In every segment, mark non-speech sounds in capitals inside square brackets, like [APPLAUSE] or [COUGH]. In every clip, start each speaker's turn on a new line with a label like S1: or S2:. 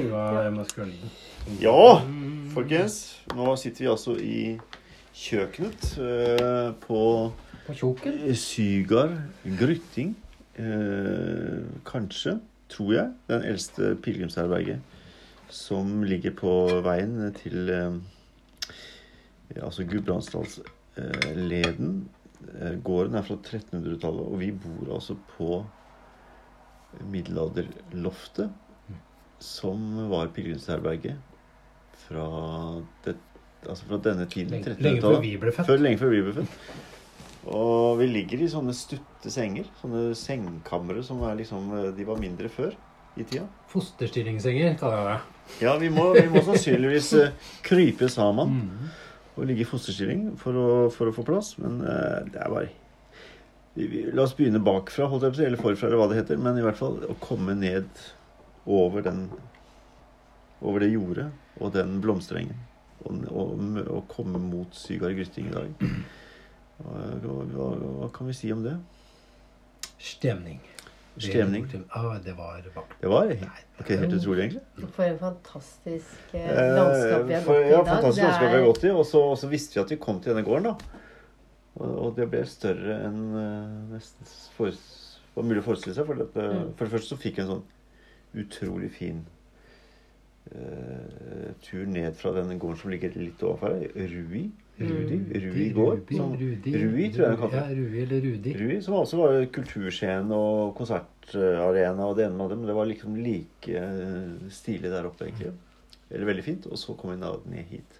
S1: Skiva hjemme hos kunden.
S2: Ja, folkens. Nå sitter vi altså i kjøkkenet eh, på
S1: På tjoken?
S2: Eh, Sygar Grytting. Eh, kanskje, tror jeg, den eldste pilegrimsherberget som ligger på veien til eh, altså Gudbrandsdalsleden. Eh, leden. eh, gården er fra 1300-tallet, og vi bor altså på middelalderloftet som var pilegrimsherberget fra, det, altså fra denne tiden.
S1: Lenge, lenge
S2: 1300-tallet.
S1: før vi ble født.
S2: Før, lenge før vi ble født. Og vi ligger i sånne stutte senger. Sånne sengkamre som er liksom De var mindre før i tida.
S1: Fosterstillingssenger, kaller jeg det.
S2: Ja, vi må, vi må sannsynligvis eh, krype sammen og ligge i fosterstilling for å, for å få plass. Men eh, det er bare vi, vi, La oss begynne bakfra, holdt jeg på å si, eller forfra, eller hva det heter. Men i hvert fall å komme ned over den Over det jordet og den blomsterengen. Og, og, mø- og komme mot Sygard Grytting i dag. Hva, hva, hva kan vi si om det?
S1: Stemning. Det er
S2: Stemning.
S1: borte- Ja, det var vakkert.
S2: Det var ok, helt utrolig, egentlig.
S3: For en fantastisk eh,
S2: Eh,
S3: landskap vi har
S2: for-
S3: gått i i
S2: ja,
S3: dag.
S2: fantastisk
S3: Det
S2: landskap vi
S3: er-
S2: har gått i. Og så, og så visste vi at vi kom til denne gården, da. Og, og det ble større enn eh, nesten for, var mulig å forestille seg. For, dette,
S3: Mm.
S2: for det første så fikk vi en sånn utrolig fin eh, tur ned fra denne gården som ligger litt overfor her. Rui. Rudi. Rui gård.
S1: Mm. Rudi,
S2: som-
S1: Rudi,
S2: Rui, tror jeg den
S1: Ja,
S2: kalte det.
S1: Rui eller Rudi.
S2: Rui, som også var kulturscene og konsertarena og det ene med det. Men det var liksom like eh, stilig der oppe, egentlig. Eller veldig fint. Og så kom vi da ned hit.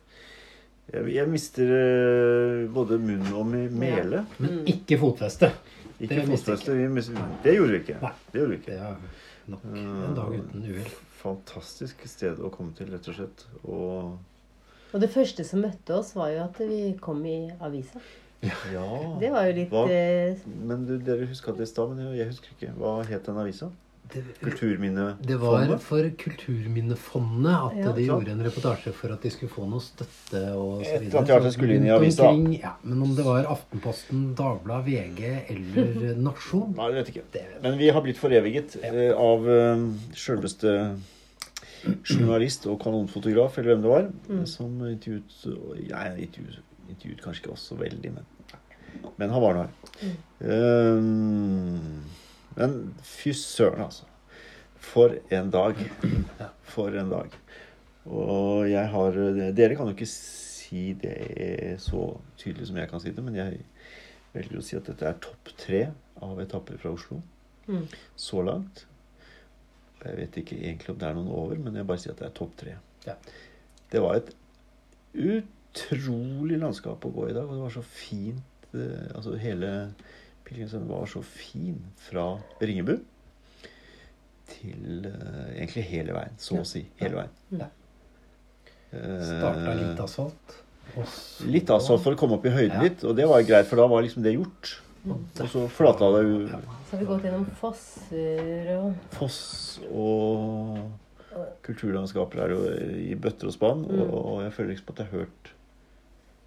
S2: Jeg, jeg mister eh, både munn og me- mele.
S1: Men ikke fotfeste.
S2: Ikke
S1: det mister
S2: fotfeste. vi mister- Det gjorde vi ikke.
S1: Nei.
S2: Det gjorde vi
S1: Det
S2: ikke.
S1: er nok en dag uten uhell.
S2: Fantastisk sted å komme til, rett og slett. Og
S3: Og det første som møtte oss, var jo at vi kom i avisa.
S2: ja
S3: Det var jo litt
S2: Hva?
S3: eh,
S2: Men du, dere huska det i stad, men jeg- jeg husker ikke. Hva het den avisa?
S1: Det,
S2: Kulturminnefondet?
S1: det var for Kulturminnefondet at
S3: Ja.
S1: de gjorde en reportasje for at de skulle få noe støtte og så
S2: Et
S1: videre.
S2: eller annet
S1: Så
S2: skulle inn i
S1: rundt
S2: avisa.
S1: omkring- Ja, men om det var Aftenposten, Dagbladet, VG eller Nasjon
S2: Nei, det vet jeg ikke.
S1: det vet
S2: Men vi har blitt foreviget eh, av eh, sjølveste journalist og kanonfotograf, eller hvem det var, som intervjuet og Jeg intervjuet, intervjuet kanskje ikke oss så veldig, men, men han var nå her. Eh, men fy søren, altså. For en dag. For en dag. Og jeg har eh, Dere kan jo ikke si det så tydelig som jeg kan si det, men jeg velger å si at dette er topp tre av etapper fra Oslo
S3: Mm.
S2: så langt. Og Jeg vet ikke egentlig om det er noen over, men jeg bare sier at det er topp tre.
S1: Ja.
S2: Det var et utrolig landskap å gå i dag, og det var så fint eh, Altså hele Pilgrimsveien var så fin fra Ringebu til eh, egentlig hele veien, så å si. Hele veien.
S3: Ja. Mm.
S1: Starta litt
S2: Eh,
S1: asfalt. og så-
S2: Litt asfalt for å komme opp i høyden
S1: Ja.
S2: litt, og det var greit, for da var liksom det gjort.
S1: Mm.
S2: Og så flata det jo
S3: Så har vi gått gjennom fosser og
S2: foss og kulturlandskaper er jo i bøtter og spann,
S3: Mm.
S2: og, og jeg føler liksom at jeg har hørt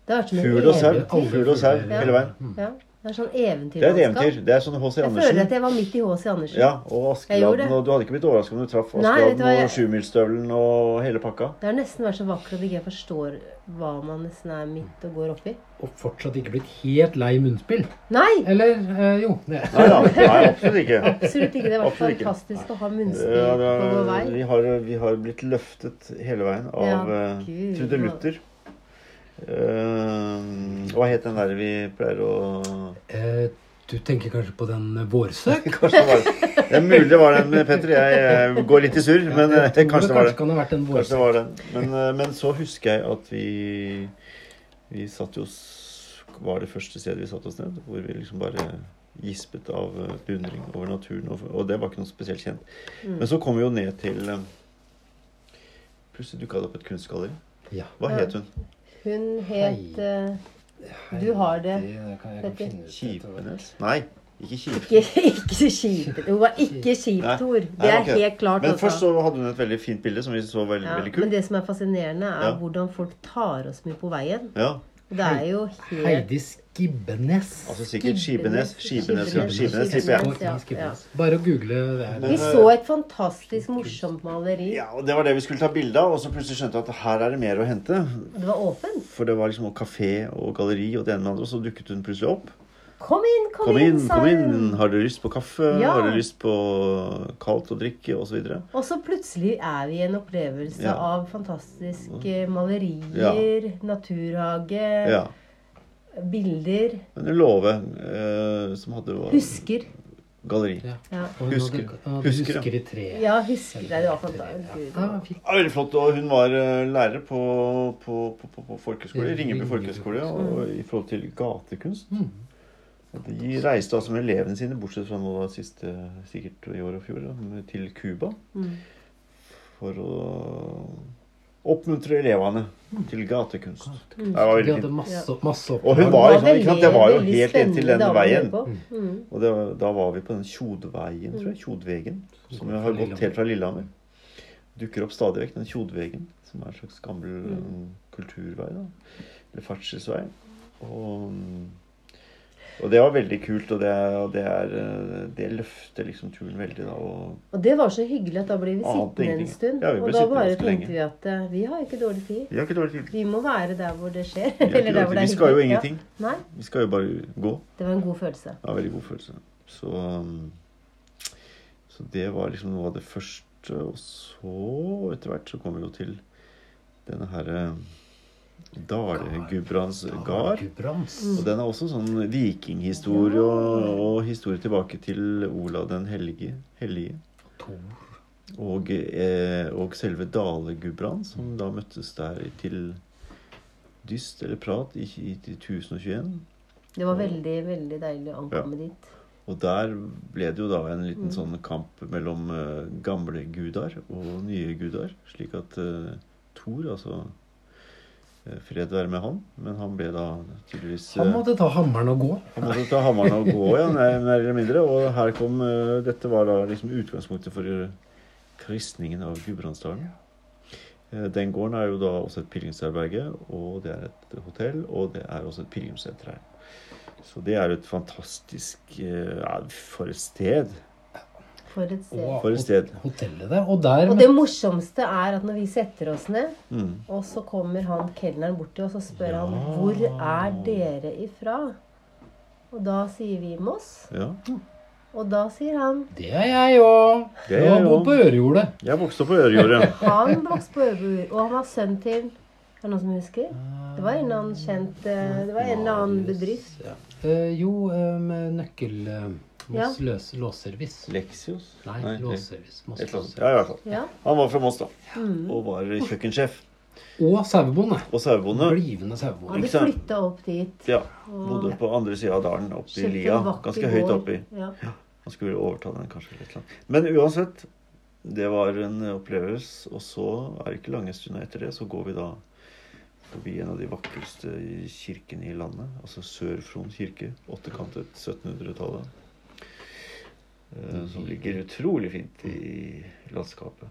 S3: Det har vært som et
S2: fugl og sau.
S3: eventyr.
S2: Fugl og sau
S1: Ja.
S2: hele veien.
S3: Ja, det er sånn
S2: Det er et
S3: eventyrlandskap.
S2: eventyr. Det er sånn H.C.
S3: Jeg føler at
S2: Andersen.
S3: jeg var midt i H.C. Andersen.
S2: Ja, og
S3: Jeg gjorde det.
S2: Askeladden. Og du hadde ikke blitt overraska om du traff
S3: Nei, vet du
S2: Askeladden
S3: hva, jeg-
S2: og sjumilsstøvelen og hele pakka.
S3: Det har nesten vært så vakkert at ikke jeg forstår hva man nesten er midt og går oppi.
S1: Og fortsatt ikke blitt helt lei munnspill.
S3: Nei!
S1: Eller eh, jo. Det.
S2: Nei da, nei, absolutt ikke.
S3: [LAUGHS] Absolutt ikke. Det har vært
S2: Absolutt ikke.
S3: fantastisk å ha munnspill
S2: Ja, det
S3: på vår
S2: er,
S3: vei.
S2: vi, har, vi har blitt løftet hele veien av
S3: Ja,
S2: eh,
S3: Gud.
S2: Trude Luther. Eh, hva het den der vi pleier å
S1: Eh, du tenker kanskje på den eh, vårsøk?
S2: Kanskje det var Det er mulig det var den, men Petter. Jeg eh, går litt i surr, men eh,
S1: Jeg tror
S2: kanskje det var det.
S1: kan ha vært en
S2: Kanskje det
S1: vårsøk.
S2: var den. Men, eh, men så husker jeg at vi Vi satt jo s- Var det første stedet vi satte oss ned, hvor vi liksom bare gispet av eh, beundring over naturen. Og, og det var ikke noe spesielt kjent.
S3: Mm.
S2: Men så kom vi jo ned til eh, Plutselig dukka det opp et kunstgalleri.
S1: Ja.
S2: Hva
S3: Ja.
S2: het hun?
S3: Hun het
S1: Hei.
S3: eh, Du har det,
S1: jeg kan, jeg kan
S3: Petter.
S1: finne ut etterpå.
S2: Kipenes? Nei, ikke Kipenes.
S3: Ikke, ikke kjipt. Hun var ikke
S2: Nei.
S3: kjipt, Tor. Det
S2: Nei,
S3: er
S2: ok.
S3: helt klart.
S2: Men
S3: altså.
S2: først så hadde hun et veldig fint bilde som vi så veldig,
S3: ja,
S2: veldig
S3: men
S2: kult.
S3: det som er fascinerende, er
S2: Ja.
S3: hvordan folk tar oss med på veien.
S2: Ja.
S3: Det er jo helt
S1: Heidi Skibbenes.
S2: Altså sikkert Skibenes.
S3: Skibenes.
S2: Skibenes, ja.
S3: Skibenes,
S2: Skibenes,
S3: Skibenes,
S2: tipper jeg.
S1: Oi,
S3: ja,
S1: Skibbenes. Bare å google det.
S3: Vi
S1: her.
S3: så et fantastisk morsomt maleri.
S2: Ja, og Det var det vi skulle ta bilde av, og så plutselig skjønte jeg at her er det mer å hente.
S3: Og det var åpent.
S2: For det var liksom også kafé og galleri og det ene med det andre, og så dukket hun plutselig opp.
S3: Kom inn, kom,
S2: Kom inn,
S3: sa
S2: kom
S3: hun.
S2: inn! Har du lyst på kaffe?
S3: Ja.
S2: Har du lyst på kaldt å drikke? Og så videre.
S3: Og så plutselig er vi i en opplevelse
S2: Ja. Mm.
S3: av fantastiske malerier,
S2: Ja.
S3: naturhage,
S2: Ja.
S3: bilder,
S2: Men Love, eh, som hadde var
S3: husker.
S2: galleri.
S1: Ja.
S3: Ja,
S1: Og hun
S2: Husker.
S1: hadde- og du
S2: Husker, ja.
S1: husker i treet.
S3: ja husker. Nei, det var fantastisk.
S1: Ja,
S3: Gud,
S1: ja, fint.
S2: Ja, veldig flott. Og hun var eh, lærer på, på, på, på, på folkehøyskole,
S1: Mm.
S2: Ringebu folkehøgskole, og i forhold til gatekunst.
S1: Mm.
S2: Og De reiste altså med elevene sine, bortsett fra nå da siste, sikkert i år og fjor, da, til Cuba.
S3: Mm.
S2: For å oppmuntre elevene til gatekunst. Det var
S1: De
S2: veldig
S1: hadde
S2: fint.
S1: masse, masse
S2: Og hun
S1: oppdrag.
S2: var,
S3: Det
S2: ikke sant, ikke sant, det var jo
S3: veldig
S2: helt inntil
S3: spennende
S2: den
S3: dame å høre
S2: veien.
S3: på. Mm.
S2: Og det, var- da var vi på den Tjodveien, tror jeg. Tjodvegen. Som jo har gått helt fra Lillehammer. Dukker opp stadig vekk, den Tjodvegen. Som er en slags gammel eh, kulturvei, da. Eller ferdselsvei. Og, um, og det var veldig kult, og det, og det er eh, Det løfter liksom turen veldig, da. Og
S3: Og det var så hyggelig at da ble vi
S2: Ante
S3: sittende en
S2: ingenting.
S3: stund.
S2: Ja, vi ble
S3: og da
S2: sittende
S3: bare
S2: ganske lenge.
S3: tenkte vi at eh, vi har ikke dårlig tid.
S2: vi har ikke dårlig tid.
S3: Vi må være der hvor det skjer. [LAUGHS]
S2: Vi, har ikke
S3: eller
S2: dårlig
S3: der
S2: tid.
S3: hvor det
S2: vi
S3: er
S2: skal jo
S3: hyggelig. Ja.
S2: ingenting.
S3: Nei,
S2: Vi skal jo bare gå.
S3: det var en god følelse.
S2: Det var en veldig god følelse. Så, um, så det var liksom noe av det første. Og så, etter hvert, så kom vi jo til denne herre Dalegudbrands gard.
S1: Gudbrands.
S2: Og
S3: Mm.
S2: den er også sånn vikinghistorie og, og historie tilbake til Olav den hellige. hellige.
S1: Tor.
S2: Og, eh, og selve Dalegudbrand, som da møttes der til dyst eller prat i, i, i 1021.
S3: Det
S2: Mm.
S3: var veldig, veldig deilig å ankomme dit.
S2: Og der ble det jo da en liten sånn kamp mellom eh, gamle gudar og nye gudar. Slik at uh, Thor, altså eh, Fred være med han, men han ble da tydeligvis eh,
S1: Han måtte ta hammeren og gå.
S2: han måtte ta hammeren og gå, ja, mer mer eller mindre. Og her kom eh, Dette var da liksom utgangspunktet for eh, kristningen av Gudbrandsdalen. Eh, Den gården er jo da også et pilegrimsherberge, og det er et hotell, og det er også et pilegrimssenter her. Så det er jo et fantastisk eh, Ja, for et sted.
S3: For et sted.
S1: Og
S2: For et sted.
S1: hotellet der. Og der
S3: Og det morsomste er at når vi setter oss ned,
S2: Mm.
S3: og så kommer han kelneren bort til oss og spør han
S2: Ja.
S3: hvor er dere ifra? Og da sier vi Moss.
S2: Ja.
S3: Og da sier han
S1: Det er jeg òg.
S2: Det er
S1: Jeg
S2: jeg
S1: bor
S2: også.
S1: på Ørjordet.
S2: Jeg vokste opp på Ørjordet.
S3: Han vokste på Øybur, og han var sønn til Er det noen som husker? Det var en eller annen kjent eh, Det var en eller annen bedrift.
S1: Ja. Eh, jo, eh, med nøkkel... eh, Moss løs, låsservice.
S2: Leksios?
S1: Nei, låsservice. Moss
S2: Et eller annet.
S1: låsservice.
S2: Ja, i hvert fall.
S3: Ja.
S2: Han var fra Moss, da. Og var kjøkkensjef.
S1: Og sauebonde.
S2: Og sauebonde.
S1: Blivende sauebonde.
S3: Han
S2: Ikke
S3: hadde
S2: sant?
S3: flytta opp dit.
S2: Ja. Bodde på andre sida av dalen, oppe i
S3: kjøpte
S2: lia.
S3: en vakker
S2: Ganske høyt
S3: gård.
S2: oppi.
S3: Ja.
S2: Han skulle overta den kanskje litt langt. Men uansett, det var en opplevelse. Og så er det ikke lange stunda etter det, så går vi da forbi en av de vakreste kirkene i landet. Altså Sør-Fron kirke. Åttekantet 1700-tallet. eh, Som ligger utrolig fint i landskapet.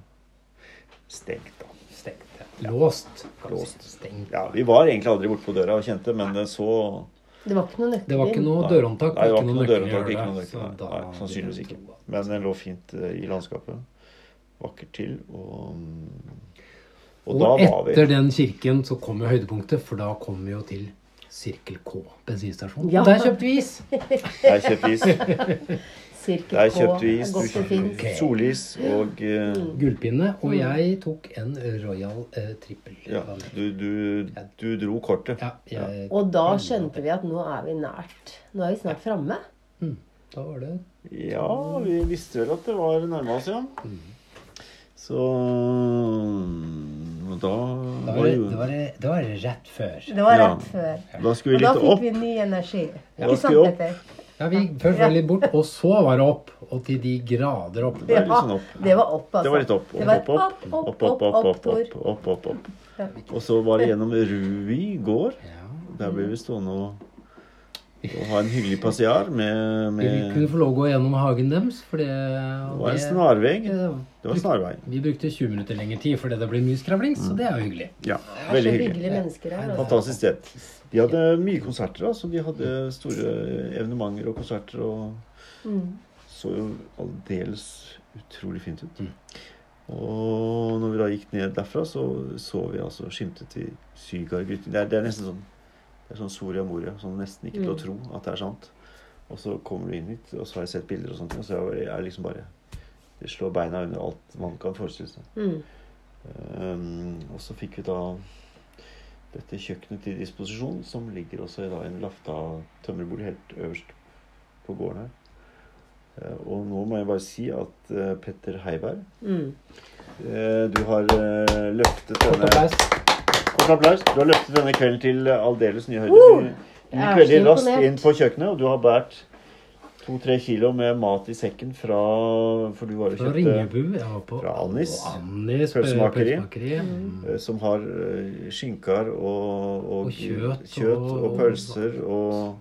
S2: Stengt, da.
S1: Stengt. ja. Låst. kan du
S2: Låst.
S1: si. Stengt.
S2: Ja, Vi var egentlig aldri borte på døra og kjente, men eh, så
S3: Det var ikke noe nøkkel.
S1: Det var ikke noe
S2: Nei.
S1: dørhåndtak.
S2: Nei, det var
S1: og
S2: ikke noe dørentak,
S1: i
S2: ikke
S1: hjørnet,
S2: noe nøkkel.
S1: så da
S2: Nei,
S1: vil
S2: sannsynligvis
S1: jeg
S2: ikke.
S1: tro at-
S2: Men den lå fint eh, i landskapet. Vakkert til. Og, og da
S1: Og
S2: var vi
S1: etter den kirken så kom jo høydepunktet, for da kom vi jo til Sirkel K bensinstasjon.
S3: Ja.
S1: Og der kjøpte vi is!
S2: Der kjøpte vi is.
S3: Sirkel
S2: Der
S3: K
S2: kjøpte vi
S3: er
S2: is. Du
S3: Godt og fint.
S2: kjøpte solis og eh,
S1: Gullpinne. Og jeg tok en Royal eh, trippel.
S2: ja, du, du, du dro kortet.
S1: Ja, jeg,
S3: Og da skjønte vi at nå er vi nært. Nå er vi snart framme.
S1: Mm, da var det
S2: Ja, vi visste vel at det var nærme oss, ja. Så eh, Og da
S1: Da
S2: var
S1: var det,
S2: jo
S1: det, var det, det var rett før.
S3: Det var
S2: Ja.
S3: rett før.
S2: Da skulle
S3: Og
S2: vi
S3: da
S2: litt
S3: fikk
S2: opp.
S3: vi ny energi.
S2: Ja.
S3: Ikke sant,
S2: Da skulle vi
S3: Petter?
S1: Ja, vi gikk først var litt bort, og så var det opp. Og til de grader opp.
S2: Det var litt sånn opp.
S3: Det var opp, altså.
S2: Det var litt opp.
S3: Det var
S2: Opp, opp, opp, opp, opp, opp, opp, opp, opp, opp, opp. Og så var det gjennom Rui gård.
S1: Ja.
S2: Der ble vi stående og Og ha en hyggelig passiar med,
S1: Vi
S2: med
S1: kunne få lov å gå gjennom hagen deres, for det
S2: Det
S1: og
S2: var en
S1: det-
S2: snarvei.
S1: Ja,
S2: Det var snarvei.
S1: Vi brukte 20 minutter lengre tid fordi det ble mye skravling,
S2: Mm.
S1: så det er jo hyggelig.
S2: Ja,
S3: Det er så
S2: veldig hyggelig.
S3: hyggelige mennesker her. Altså.
S2: Fantastisk sted. De hadde mye konserter. altså De hadde store evenementer og konserter. Og
S3: Mm.
S2: så jo aldeles utrolig fint ut. Og når vi da gikk ned derfra, så så vi altså skimtet til Sygardgrytting. Det, er- det er nesten sånn det er sånn Soria Moria. Sånn nesten ikke til å
S3: Mm.
S2: tro at det er sant. Og så kommer du inn hit, og så har jeg sett bilder og sånt, og så er jeg er liksom bare Det slår beina under alt man kan forestille seg.
S3: Mm.
S2: Ehm, og så fikk vi da dette kjøkkenet til disposisjon, som ligger også i da en lafta tømmerbolig helt øverst på gården her. Eh, og nå må jeg bare si at eh, Petter Heiberg,
S3: Mm.
S2: eh, du har eh, løftet
S1: Kort
S2: denne
S1: applaus.
S2: Kort applaus. Du har løftet denne kvelden til eh, aldeles nye
S3: Woo!
S2: høyder. Du
S3: Jeg er
S2: gikk veldig
S3: så
S2: raskt
S3: imponert.
S2: inn på kjøkkenet, og du har båret to-tre kilo med mat i sekken fra For du var og
S1: Fra
S2: kjøpte
S1: Ringebu. Jeg var på
S2: Fra Annis.
S1: Annis
S2: Pølsemakeri.
S1: pølsemakeri. Mm.
S2: Eh, som har eh, skinker og, og,
S1: Og kjøtt
S2: kjøtt og,
S1: og- Mm.
S2: pølser og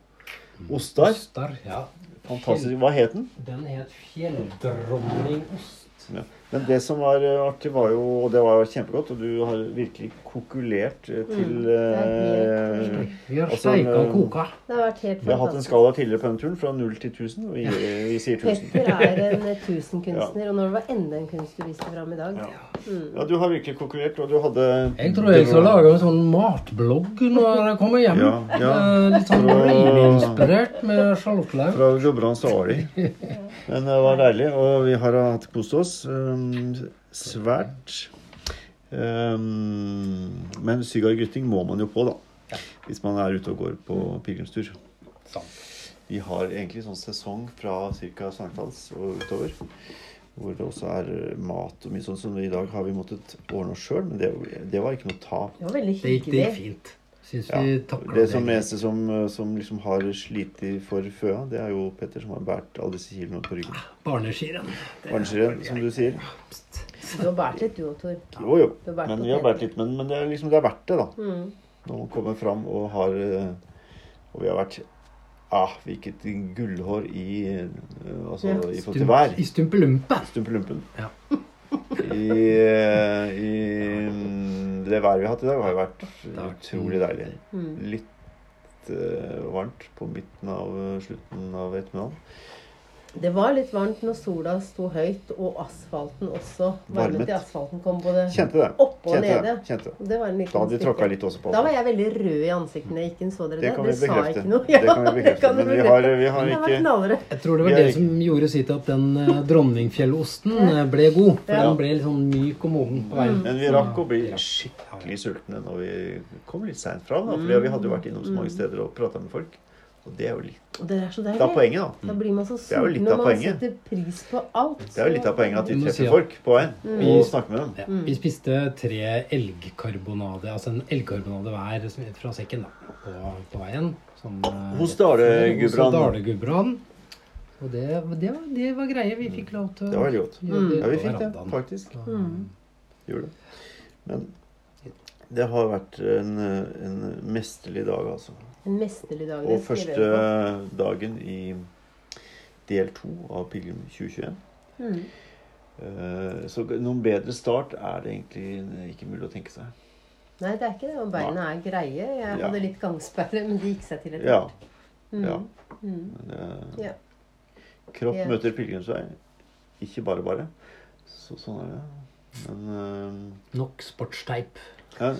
S2: ostar.
S1: Ostar, ja.
S2: Fantastisk. Hva het den?
S1: Den het Fjelldronningost.
S2: Ja. Men det som var eh, artig, var jo Og det var kjempegodt, og du har virkelig kokulert eh, til
S3: det er
S2: eh,
S1: Vi har
S2: Altså,
S1: steika og
S2: eh,
S1: koka.
S3: Det har vært helt
S2: Vi har hatt en
S3: fantastisk.
S2: skala tidligere på denne turen, fra null til 1000, og vi, vi sier
S3: [LAUGHS]
S2: 1000.
S3: Petter er en eh,
S2: [LAUGHS]
S3: tusenkunstner, og når det var enda en kunst du viste fram i dag
S2: Ja.
S3: mm.
S2: Ja, du har virkelig kokulert, og du hadde
S1: Jeg tror jeg skal lage en sånn matblogg når jeg kommer hjem.
S2: Ja, ja.
S1: Eh, Litt sånn
S2: Fra-
S1: reineinspirert med sjalottlauv.
S2: Fra Gudbrand Sali. Men det var deilig, og vi har hatt kost oss um, svært. Um, men Sygard-gryting må man jo på, da. Hvis man er ute og går på pilegrimstur. Vi har egentlig sånn sesong fra ca. sankthans og utover. Hvor det også er eh, mat og mye sånn som i dag har vi måttet ordne oss sjøl, men det, det var ikke noe tap.
S3: Det var veldig
S1: Det gikk det
S3: hyggelig.
S1: gikk fint. Syns
S2: Ja.
S1: vi takla
S2: Det som eneste som, eh, som liksom har slitt i for føa, det er jo Petter som har båret alle disse kiloene på ryggen.
S1: Barneskirenn.
S2: Arnskeren, som du sier.
S3: Du har båret litt, du òg, Tor.
S2: Jo, jo.
S3: Det har vært
S2: Men
S3: noe
S2: vi har
S3: helt
S2: vært litt, men, men det er liksom det er verdt det, da.
S3: Mm.
S2: Når man kommer fram og har eh, Og vi har vært Ah, hvilket gullhår i eh, Altså
S3: Ja.
S2: i forhold til vær.
S1: I stumpelumpe.
S2: Stumpelumpen.
S1: Ja.
S2: I, eh, I mm, det været vi har hatt i dag, har jo vært
S1: Takk.
S2: utrolig deilig.
S3: Mm.
S2: Litt eh, varmt på midten av eh, slutten av ettermiddagen.
S3: Det var litt varmt når sola sto høyt, og asfalten også. Varmen
S2: Varmet.
S3: til asfalten kom både
S2: Kjente det.
S3: opp og
S2: Kjente det.
S3: nede.
S2: Kjente det.
S3: Det var en liten
S2: Da hadde de
S3: stikker.
S2: tråkka litt også på
S3: Da var jeg veldig rød i ansiktet når jeg gikk inn. Så dere det?
S2: Det kan vi
S3: Dere sa
S2: bekrefte.
S3: ikke noe.
S2: Det kan
S3: [LAUGHS]
S2: vi bekrefte,
S3: dere
S2: men vi har- vi har
S3: Men det
S2: ikke-
S3: var knallrødt.
S1: Jeg tror det var
S2: Vi er
S1: det
S2: ikke-
S1: som gjorde sitt at den eh, dronningfjellosten eh, ble god. For
S3: Ja.
S1: den ble litt sånn myk og moden på veien.
S2: Men vi rakk å bli skikkelig sultne når vi kom litt seint fram. da, fordi vi hadde jo vært innom
S3: Mm.
S2: så mange steder og prata med folk. Og det er jo litt
S3: Og det er så
S2: av
S3: deilig.
S2: poenget, da.
S3: Da blir man så
S2: er jo litt
S3: sulten,
S2: av
S3: og man
S2: poenget.
S3: setter pris på alt.
S2: Det er jo litt av poenget at vi
S1: Men du
S2: treffer
S1: sier-
S2: folk på veien
S3: Mm.
S2: og snakker med dem.
S1: Ja. Vi spiste tre elgkarbonade, altså en elgkarbonade hver som- fra sekken da, på, på veien. Sånn, eh,
S2: Hos Dale
S1: rett før, hos
S2: Gudbrand.
S1: Dale Gudbrand. Og det, det, var, det var greie. Vi fikk lov til
S2: Det var veldig godt.
S1: gjøre det
S2: Ja, vi
S1: på
S2: fikk det,
S1: verandaen.
S2: faktisk.
S1: Så-
S3: Mm.
S2: Gjorde det. Men det har vært en, en mesterlig dag, altså.
S3: En mesterlig dag.
S2: Og
S3: det skal jeg
S2: første
S3: gjøre på.
S2: dagen i del to av Pilegrim 2021.
S3: Mm.
S2: Eh, Så noen bedre start er det egentlig ikke mulig å tenke seg.
S3: Nei, det er ikke det. Og beina er greie. Jeg
S2: Ja.
S3: hadde litt gangsperre, men det gikk seg til etter
S2: Ja.
S3: hvert. Mm.
S2: ja.
S3: Mm. [LAUGHS]
S2: Men, eh,
S3: Ja.
S2: Kropp
S3: Ja.
S2: møter pilegrimsvei. Ikke bare bare. Så, sånn er det. Men
S1: Nok sportsteip.
S2: eh, ja,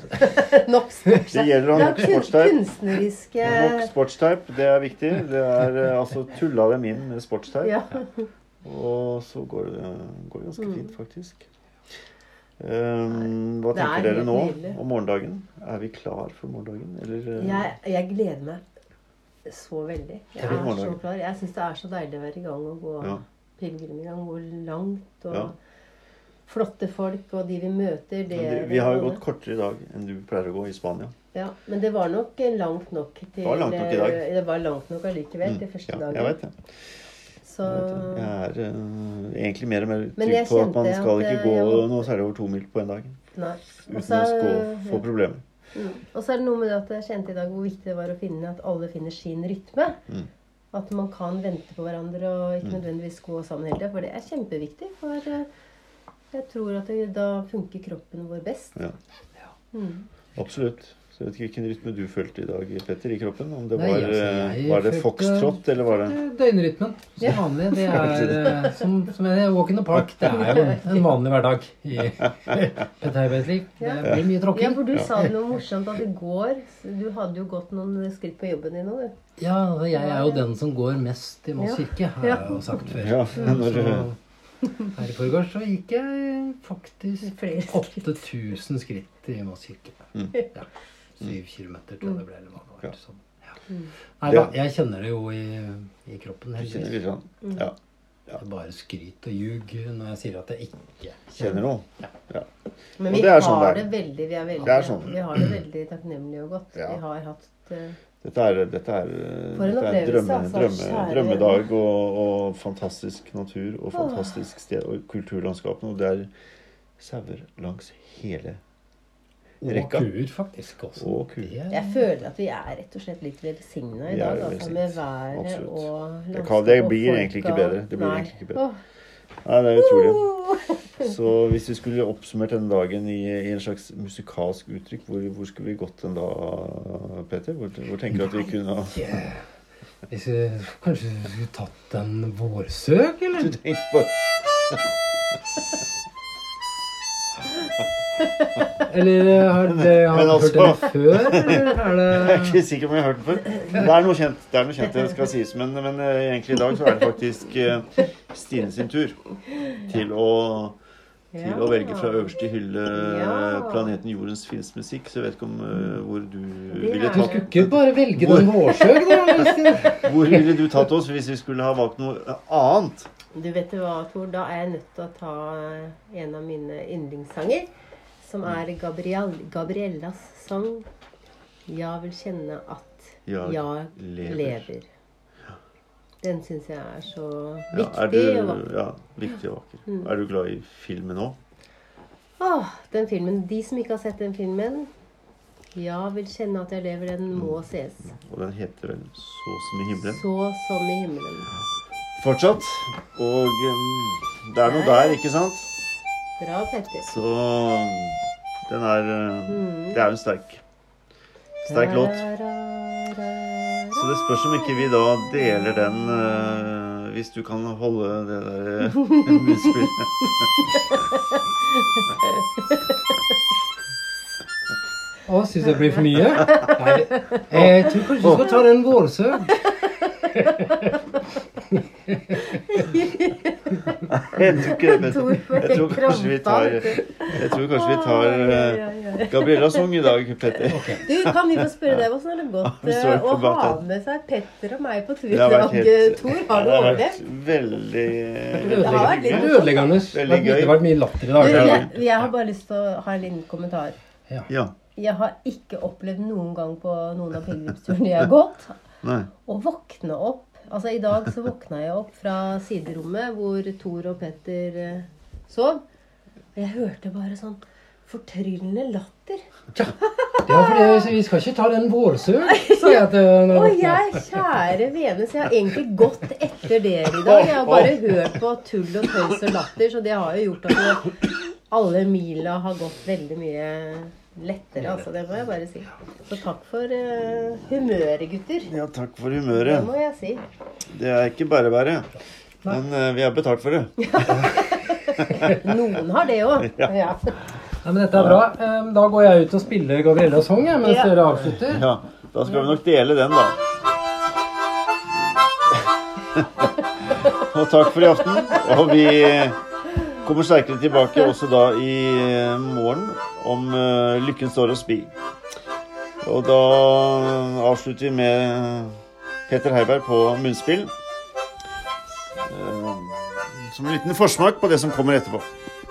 S3: Nok sportsteip.
S2: Det gjelder å ha nok
S3: kun-
S2: sportsteip.
S3: Kunstneriske
S2: nok sportsteip, det er viktig. Det er eh, altså tulla dem inn med sportsteip.
S3: ja. Mm.
S2: Og så går det, går det ganske fint, faktisk. Ehm, hva
S3: det
S2: tenker
S3: er
S2: dere
S3: helt
S2: nå
S3: nydelig.
S2: om morgendagen? Er vi klar for morgendagen, eller eh,
S3: jeg, jeg gleder meg så veldig. Jeg
S2: Til
S3: er så
S2: morgendagen.
S3: klar. Jeg syns det er så deilig å være i gang og gå
S2: Ja.
S3: pilegrimgang. Gå langt og
S2: Ja.
S3: flotte folk og de vi møter. Det,
S2: men Vi har jo gått kortere i dag enn du pleier å gå i Spania.
S3: Ja, men det var nok eh, langt nok til eh,
S2: var langt nok i dag. Mm.
S3: Det var langt nok allikevel, de
S2: Ja,
S3: første dagen.
S2: jeg vet det.
S3: Så
S2: Jeg vet det. Jeg er eh, egentlig mer og mer
S3: Men
S2: trygg
S3: jeg
S2: på at
S3: kjente
S2: man skal
S3: at,
S2: ikke
S3: eh,
S2: gå
S3: jeg håper-
S2: noe særlig over to mil på en dag.
S3: Nei. Og
S2: Uten
S3: så-
S2: å skå, få problemer.
S3: Mm. Og så er det noe med det at jeg kjente i dag hvor viktig det var å finne at alle finner sin rytme.
S2: Mm.
S3: At man kan vente på hverandre og ikke
S2: Mm.
S3: nødvendigvis gå sammen hele tida. For det er kjempeviktig. For eh, jeg tror at det, da funker kroppen vår best.
S2: Ja,
S3: Mm.
S2: absolutt. Så jeg vet ikke hvilken rytme du følte i dag, Petter, i kroppen? Om det
S1: Nei,
S2: var,
S1: altså, jeg
S2: eh, var det
S1: følte-
S2: foxtrot, eller var det
S1: Døgnrytmen som vanlig. Det er eh, som, som jeg sier, walk in the park. Det er jo en, en vanlig hverdag
S2: [LAUGHS]
S1: i et arbeidsliv. Det blir mye
S3: Ja,
S1: tråkking.
S3: for du sa noe morsomt at i går Du hadde jo gått noen skritt på jobben din òg, du.
S1: Ja, altså, jeg er jo den som går mest i Moss
S3: Ja.
S1: kirke, har jeg jo sagt før.
S2: Ja, [LAUGHS] når du
S1: Så [LAUGHS] her i forgårs så gikk jeg faktisk
S3: [LAUGHS] Flere skritt.
S1: 8000 skritt i Moss kirke.
S2: Mm.
S1: Ja. Syv kilometer tror jeg det ble. eller hva det
S2: Ja.
S1: var. Sånn. Ja.
S3: Mm.
S1: Nei da, jeg kjenner det jo i, i kroppen.
S2: Du kjenner
S1: heldigvis.
S2: litt sånn
S3: Mm.
S2: Ja. ja.
S1: Det er bare skryt og ljug når jeg sier at jeg ikke
S2: Kjenner noe. Ja.
S3: Men
S2: Og
S3: vi
S2: det er sånn
S3: har
S2: det
S3: det
S2: er.
S3: veldig Vi, er veldig,
S2: Det er sånn.
S3: vi har det veldig takknemlig og godt.
S2: Ja.
S3: Vi har hatt eh,
S2: Dette er, dette er,
S3: For en
S2: dette er en drømme,
S3: opplevelse, altså.
S2: drømme,
S3: Kjære
S2: drømmedag og, og fantastisk natur og fantastisk sted og kulturlandskap. Og det er sauer langs hele
S1: Og
S2: Rekka.
S1: kuer, faktisk, også.
S2: Og kuer.
S1: Det er-
S3: Jeg føler at vi er rett og slett litt velsigna i
S2: Vi er
S3: dag, altså
S2: velsignet.
S3: med været
S2: Absolutt.
S3: og
S2: Det kan- det blir egentlig ikke bedre. Det blir egentlig ikke bedre. Nei, det er utrolig.
S3: [LAUGHS]
S2: Så hvis vi skulle oppsummert denne dagen i, i en slags musikalsk uttrykk, hvor, hvor skulle vi gått den da, Peter? Hvor, hvor tenker du at vi kunne ha [LAUGHS]
S1: Yeah. Hvis vi kanskje skulle tatt en vårsøk, eller?
S2: Du tenker på
S1: Eller har det har
S2: [LAUGHS] Men
S1: du hørt
S2: altså-
S1: det før? Eller
S2: [LAUGHS] Jeg er
S1: er det
S2: ikke sikker på om jeg har hørt den før. Det er noe kjent, det er noe kjent, det skal sies. Men, men eh, egentlig i dag så er det faktisk eh, Stine sin tur til å, til å velge fra øverste hylle eh,
S3: Ja.
S2: planeten Jordens finnes musikk. Så jeg vet ikke om eh, hvor du
S3: Det
S2: ville
S3: er-
S1: Du
S2: tatt
S1: skulle ikke bare velge den vårsøk, da? Øystein?
S2: Hvor ville du tatt oss hvis vi skulle ha valgt noe eh, annet?
S3: Du vet du hva, Tor, da er jeg nødt til å ta eh, en av mine yndlingssanger, som er
S2: Mm.
S3: Gabriel, Gabriellas sang 'Jeg vil kjenne at
S2: Jeg
S3: jeg
S2: lever».
S3: lever'. Den syns jeg er så
S2: Ja, er du,
S3: viktig og vakker. Mm.
S2: ja, viktig og vakker. Er du glad i filmen òg?
S3: Åh, den filmen. De som ikke har sett den filmen, ja, vil kjenne at jeg lever. Den må
S2: Mm.
S3: sees.
S2: Og den heter vel Så som i himmelen?
S3: Så som i himmelen.
S2: Fortsatt. Og eh, det er noe der, ikke sant?
S3: Bra, Petter.
S2: Så den er eh,
S3: Mm.
S2: Det er jo en sterk sterk låt. Så det spørs
S3: [LAUGHS]
S2: om ikke vi da deler den eh, Hvis du kan holde det der eh, [LAUGHS] munnspillet.
S1: Å, syns jeg det blir for mye? Nei, jeg tror kanskje du skal ta den vårsøk.
S2: Jeg tror ikke det.
S3: Tor
S2: Petter. Jeg tror kanskje
S3: [LAUGHS]
S2: vi tar, jeg tror kanskje vi tar eh, Gabriella sang i dag, Petter.
S3: Du, kan vi få spørre deg hvordan har det gått
S2: [LAUGHS] Vi står
S3: eh, å
S2: for
S3: ha
S2: bak den.
S3: med seg Petter og meg på tur i
S2: Det har vært
S3: dag,
S2: helt-
S3: Tor?
S2: Ja,
S3: Har du
S2: det har
S3: årlig?
S2: vært veldig
S3: har vært litt-
S1: Du ødelegger, Anders. Det
S2: Veldig gøy.
S1: har vært mye latter i
S3: Du,
S1: dag.
S3: jeg, jeg har bare lyst til å ha en liten kommentar.
S2: Ja.
S3: Jeg har ikke opplevd noen gang på noen av pilegrimsturene jeg har gått,
S2: Nei.
S3: å våkne opp Altså, i dag så våkna jeg opp fra siderommet hvor Thor og Petter eh, sov. Og jeg hørte bare sånn fortryllende latter.
S1: Ja, for det, vi skal ikke ta den vårsøk, sa jeg til når jeg
S3: Å,
S1: våkna.
S3: jeg kjære vene, så jeg har egentlig gått etter dere i dag. Jeg har bare hørt på tull og tøys og latter, så det har jo gjort at jo alle mila har gått veldig mye lettere, altså. Det må jeg bare si. Så takk for eh, humøret, gutter.
S2: Ja, takk for
S3: Det
S2: humøret.
S3: må jeg si.
S2: Det er ikke bare bare. Men eh, vi har betalt for det.
S3: Noen har det òg. Ja.
S1: Nei, men dette er bra. Ehm, Da går jeg ut og spiller Gabriellas sang jeg, mens
S3: Ja.
S1: dere avslutter.
S2: Ja, Da skal vi nok dele den, da. [LAUGHS] Og takk for i aften. Og vi kommer sterkere tilbake også da i morgen om eh, Lykken står oss bi. Og da avslutter vi med Peter Heiberg på munnspill. Eh, Som en liten forsmak på det som kommer etterpå.